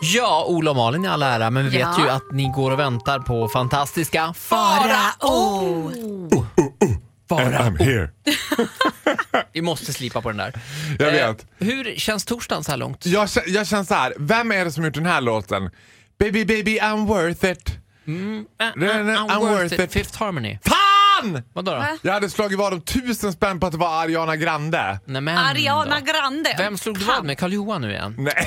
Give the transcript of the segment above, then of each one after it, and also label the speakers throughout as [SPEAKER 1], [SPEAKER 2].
[SPEAKER 1] Ja, Ola och Malin i all ära, men vi
[SPEAKER 2] Ja.
[SPEAKER 1] vet ju att ni går och väntar på fantastiska
[SPEAKER 2] Farao!
[SPEAKER 3] And
[SPEAKER 1] Farao.
[SPEAKER 3] I'm here.
[SPEAKER 1] Vi måste slipa på den där. Eh,
[SPEAKER 3] Jag vet.
[SPEAKER 1] hur känns torsdagen så här långt?
[SPEAKER 3] Eh, Jag, kä- jag känner så här. vem är det som gjort den här låten? Baby, baby, I'm worth it. Mm, eh, I'm worth it.
[SPEAKER 1] Fifth Harmony.
[SPEAKER 3] Fan!
[SPEAKER 1] Vadå då?
[SPEAKER 2] Va?
[SPEAKER 3] Jag hade slagit vad om tusen spänn på att det var Ariana Grande.
[SPEAKER 1] Nej, men
[SPEAKER 2] Ariana
[SPEAKER 1] då.
[SPEAKER 2] Grande.
[SPEAKER 1] Vem slog du vad med? Karl Johan nu igen?
[SPEAKER 3] Nej,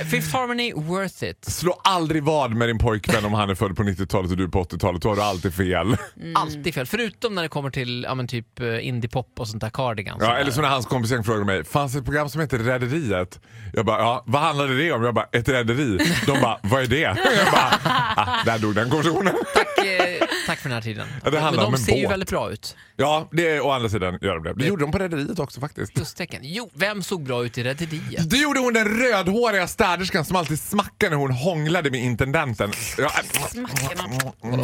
[SPEAKER 1] Eh, Fifth Harmony, worth it.
[SPEAKER 3] slå aldrig vad med din pojkvän om han är född på 90-talet och du på 80-talet. Då har du alltid fel.
[SPEAKER 2] Mm.
[SPEAKER 1] Alltid fel. Förutom när det kommer till ja, men typ eh, indiepop och sånt där, Cardigans.
[SPEAKER 3] Ja, eller som när hans kompis gäng frågade mig, fanns det ett program som heter Rederiet? Jag bara, ja, vad handlade det om? Jag bara, ett rederi. De bara, vad är det? Jag bara, ah, där dog den konversationen.
[SPEAKER 1] Tack, eh, tack för den här tiden.
[SPEAKER 3] Ja, det
[SPEAKER 1] men
[SPEAKER 3] handlar
[SPEAKER 1] de
[SPEAKER 3] om en
[SPEAKER 1] ser ju
[SPEAKER 3] båt.
[SPEAKER 1] väldigt bra ut.
[SPEAKER 3] Ja, det är å andra sidan gör de det. Det gjorde de på Rederiet också faktiskt.
[SPEAKER 1] Plustecken. Jo, vem såg bra ut i Rederiet?
[SPEAKER 3] Det gjorde hon den rödhåriga städerskan som alltid smackade när hon hånglade med intendenten. Ja, äh, Mm.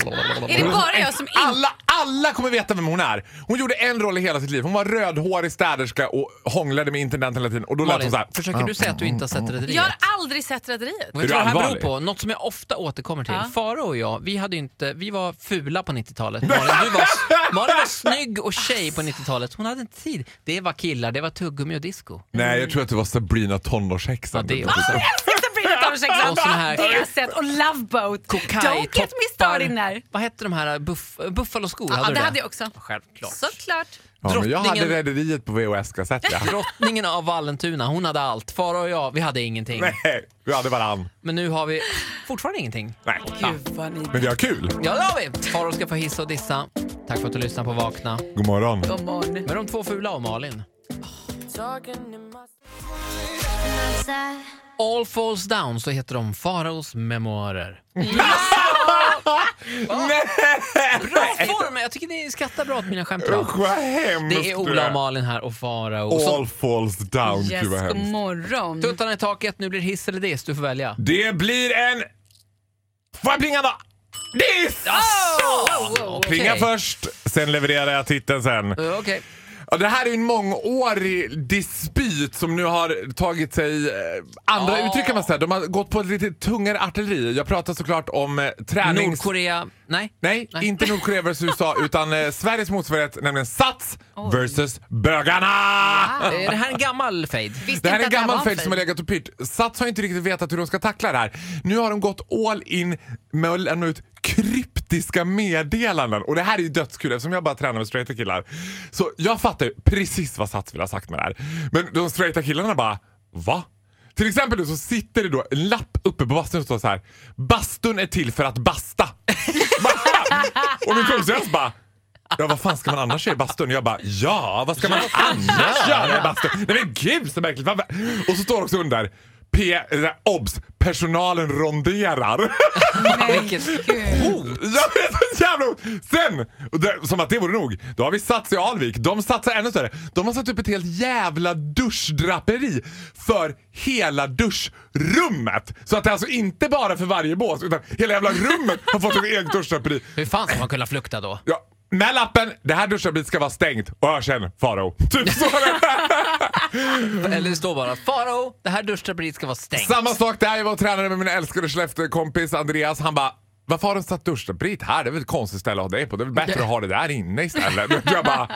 [SPEAKER 2] Är det bara jag som inte...
[SPEAKER 3] Alla, alla kommer veta vem hon är. Hon gjorde en roll i hela sitt liv. Hon var rödhårig städerska och hånglade med intendenten hela tiden. Och då lät hon
[SPEAKER 1] Malin,
[SPEAKER 3] så här.
[SPEAKER 1] försöker du säga att du inte har sett Rederiet?
[SPEAKER 2] Jag har aldrig sett Rederiet.
[SPEAKER 1] Och
[SPEAKER 3] Är
[SPEAKER 1] vet
[SPEAKER 3] du
[SPEAKER 1] du vad det här beror
[SPEAKER 3] allvarlig?
[SPEAKER 1] på? Något som jag ofta återkommer till.
[SPEAKER 2] Ja.
[SPEAKER 1] Faro och jag, vi, hade ju inte, vi var fula på 90-talet. Malin, du var, Malin var snygg och tjej på 90-talet. Hon hade inte tid. Det var killar, det var tuggummi och disco.
[SPEAKER 3] Nej, jag tror att det var Sabrina
[SPEAKER 1] Ja,
[SPEAKER 3] tonårshäxan. Typ.
[SPEAKER 1] det är också. Och sån här-
[SPEAKER 2] Det har jag sett. Och Love Boat. Don't get me started there.
[SPEAKER 1] Vad hette de här? Buff, buffaloskor?
[SPEAKER 2] Ja,
[SPEAKER 1] hade du
[SPEAKER 2] det hade jag också.
[SPEAKER 1] Självklart.
[SPEAKER 2] Såklart.
[SPEAKER 3] ja, men jag hade
[SPEAKER 1] drottningen-
[SPEAKER 3] Rederiet på VHS-kassett. Ja.
[SPEAKER 1] Drottningen av Vallentuna, hon hade allt. Faro och jag, vi hade ingenting.
[SPEAKER 3] Nej, vi hade varann.
[SPEAKER 1] Men nu har vi fortfarande ingenting.
[SPEAKER 3] Nej.
[SPEAKER 1] Ja.
[SPEAKER 3] Men vi har kul.
[SPEAKER 1] Ja, det har vi! Farao ska få hissa och dissa. Tack för att du lyssnade på Vakna.
[SPEAKER 3] God morgon.
[SPEAKER 2] God morgon.
[SPEAKER 1] Med de två fula och Malin. All Falls Down så heter de Faraos memoarer. Bra form! Jag tycker ni skrattar bra åt mina skämt idag.
[SPEAKER 3] Usch vad hemskt
[SPEAKER 1] Det är Ola och Malin här och Farao. Och så
[SPEAKER 3] All falls down. Gud vad
[SPEAKER 2] Yes, god
[SPEAKER 3] hemskt.
[SPEAKER 2] morgon.
[SPEAKER 1] tuttarna i taket, nu blir det hiss eller diss. Du får välja.
[SPEAKER 3] Det blir en... Får jag plinga då? Diss!
[SPEAKER 1] Oh, Okej.
[SPEAKER 3] Plinga först, sen levererar jag titeln sen.
[SPEAKER 1] Eh, Okej.
[SPEAKER 3] Ja, det här är ju en mångårig dispyt som nu har tagit sig eh, andra
[SPEAKER 1] Ja.
[SPEAKER 3] uttryck kan man säga. De har gått på ett lite tungare artilleri. Jag pratar såklart om eh, tränings...
[SPEAKER 1] Nordkorea. Nej.
[SPEAKER 3] Nej,
[SPEAKER 1] Nej.
[SPEAKER 3] inte Nordkorea vs USA utan eh, Sveriges motsvarighet, nämligen Sats versus bögarna!
[SPEAKER 1] Är det här en gammal fade?
[SPEAKER 2] Visste
[SPEAKER 3] Det här
[SPEAKER 2] inte
[SPEAKER 3] är
[SPEAKER 2] att
[SPEAKER 3] en
[SPEAKER 2] det var
[SPEAKER 3] gammal
[SPEAKER 2] en
[SPEAKER 3] fade som har legat och pyrt. Sats har inte riktigt vetat hur de ska tackla det här. Nu har de gått all in med att lämna ut kryptiska meddelanden. Och det här är ju dödskul eftersom jag bara tränar med straighta killar. Så jag fattar ju precis vad Sats vill ha sagt med det här. Men de straighta killarna bara, va? Till exempel nu så sitter det då en lapp uppe på bastun som står så här. Bastun är till för att basta. Bara- och min kompis bara Ja vad fan ska man annars göra i bastun? Jag bara ja vad ska man annars göra i bastun? Nej men gud så märkligt. Vad- Och så står det också under P, eh, obs, personalen ronderar.
[SPEAKER 1] Vilket-
[SPEAKER 3] Jag vet så jävla Sen, och det, som att det vore nog, då har vi Sats i Alvik. De satsar ännu större. De har satt upp ett helt jävla duschdraperi för hela duschrummet. Så att det är alltså inte bara för varje bås utan hela jävla rummet har fått ett eget duschdraperi.
[SPEAKER 1] Hur fan ska man kunna flukta då?
[SPEAKER 3] Ja, med lappen, det här duschdraperiet ska vara stängt. Och hör sen, Farao. Typ så.
[SPEAKER 1] Eller det står bara Farao, det här duschdraperiet ska vara stängt.
[SPEAKER 3] Samma sak där, jag var och tränade med min älskade Skellefteå-kompis Andreas. Han bara varför har de satt duschdraperiet här? Det är väl ett konstigt ställe att ha det på. Det är väl bättre att ha det där inne istället. Men jag bara,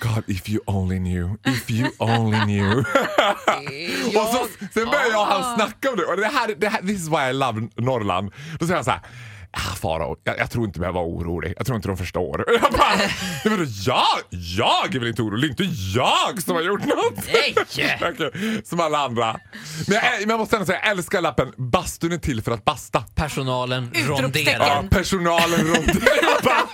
[SPEAKER 3] God if you only knew, if you only knew. Och så, sen börjar jag och han snacka om det. Och det här, det här, this is why I love Norrland. Då säger han så här. Ah, Farao, jag, jag tror inte jag var orolig. Jag tror inte de förstår. Och jag bara, "Nej, men då jag, jag är väl inte orolig? Det är inte jag som har gjort något.
[SPEAKER 1] Nej!
[SPEAKER 3] Okej, Som alla andra. Men jag, men jag måste ändå säga, jag älskar lappen Bastun är till för att basta.
[SPEAKER 1] Personalen
[SPEAKER 2] Utropstecken.
[SPEAKER 1] ronderar.
[SPEAKER 3] Ja, personalen runt Jag bara,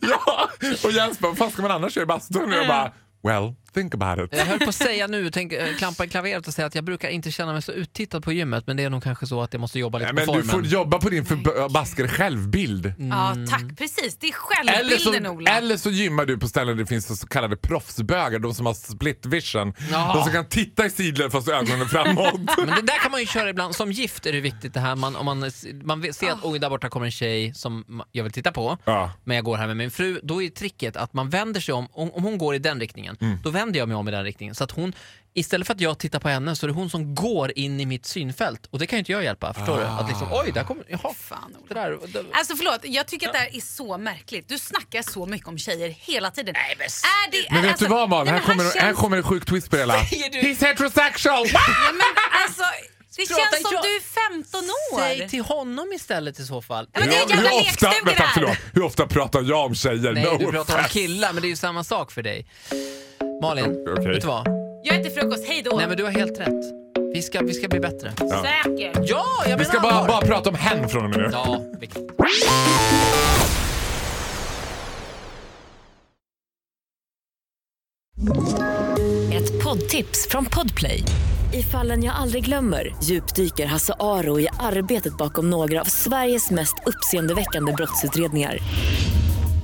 [SPEAKER 3] Ja, och Jens bara, vad fan ska man annars göra i bastun? Och jag bara, well, think about it.
[SPEAKER 1] Jag höll på att säga nu, tänk, eh, klampa i klaveret och säga att jag brukar inte känna mig så uttittad på gymmet men det är nog kanske så att jag måste jobba lite
[SPEAKER 3] Nej,
[SPEAKER 1] på
[SPEAKER 3] Men du
[SPEAKER 1] formen.
[SPEAKER 3] får jobba på din förbaskade självbild.
[SPEAKER 2] Ja, tack. Precis. Det är
[SPEAKER 3] Mm. Eller
[SPEAKER 2] självbilden,
[SPEAKER 3] så,
[SPEAKER 2] Ola.
[SPEAKER 3] eller så gymmar du på ställen där det finns så kallade proffsbögar, de som har split vision.
[SPEAKER 1] Ja.
[SPEAKER 3] De som kan titta i sidled fast ögonen är framåt.
[SPEAKER 1] Men det där kan man ju köra ibland. Som gift är det viktigt det här. Man, om man, man vet- ser att oj, där borta kommer en tjej som ma- jag vill titta på
[SPEAKER 3] Ah. Ja. Mm.
[SPEAKER 1] men jag går här med min fru. Då är tricket att man vänder sig om. Om, om hon går i den riktningen, då vänder vänder jag mig om i den riktningen. Så att hon, istället för att jag tittar på henne så är det hon som går in i mitt synfält. Och det kan ju inte jag hjälpa, förstår du? Att liksom,
[SPEAKER 3] Ah.
[SPEAKER 1] oj, där kommer, jaha.
[SPEAKER 2] Fan,
[SPEAKER 1] det
[SPEAKER 2] Ola.
[SPEAKER 1] där, det,
[SPEAKER 2] Alltså förlåt, jag tycker att det här är så märkligt. Du snackar så mycket om tjejer hela tiden. Nej, men, är det,
[SPEAKER 3] Men vet
[SPEAKER 2] alltså,
[SPEAKER 3] du vad Malin?
[SPEAKER 2] nej,
[SPEAKER 3] Här,
[SPEAKER 2] men
[SPEAKER 3] kommer,
[SPEAKER 2] känns,
[SPEAKER 3] här kommer en sjuk twist på det hela.
[SPEAKER 1] Säger du-
[SPEAKER 3] He's heterosexual! Va?
[SPEAKER 2] Ja, men, alltså, det
[SPEAKER 1] Prata
[SPEAKER 2] känns som
[SPEAKER 1] jag-
[SPEAKER 2] du är 15 år.
[SPEAKER 1] Säg till honom istället i så fall.
[SPEAKER 2] men det är en jävla
[SPEAKER 3] hur, ofta,
[SPEAKER 2] lekstuga
[SPEAKER 3] vänta,
[SPEAKER 2] det här.
[SPEAKER 3] förlåt, hur ofta pratar jag om tjejer?
[SPEAKER 1] Nej,
[SPEAKER 3] no
[SPEAKER 1] du pratar om
[SPEAKER 3] offense.
[SPEAKER 1] killar, men det är ju samma sak för dig. Malin,
[SPEAKER 3] Okej.
[SPEAKER 1] vet du vad?
[SPEAKER 2] Jag äter frukost, hej då.
[SPEAKER 1] Nej, men du har helt rätt. Vi ska, vi ska bli bättre.
[SPEAKER 3] Ja.
[SPEAKER 2] Säkert.
[SPEAKER 1] Ja, jag menar
[SPEAKER 3] Vi ska bara,
[SPEAKER 1] allvar.
[SPEAKER 3] bara prata om hen från och med nu.
[SPEAKER 1] Ja, viktigt.
[SPEAKER 4] Ett poddtips från Podplay. I fallen jag aldrig glömmer djupdyker Hasse Aro i arbetet bakom några av Sveriges mest uppseendeväckande brottsutredningar.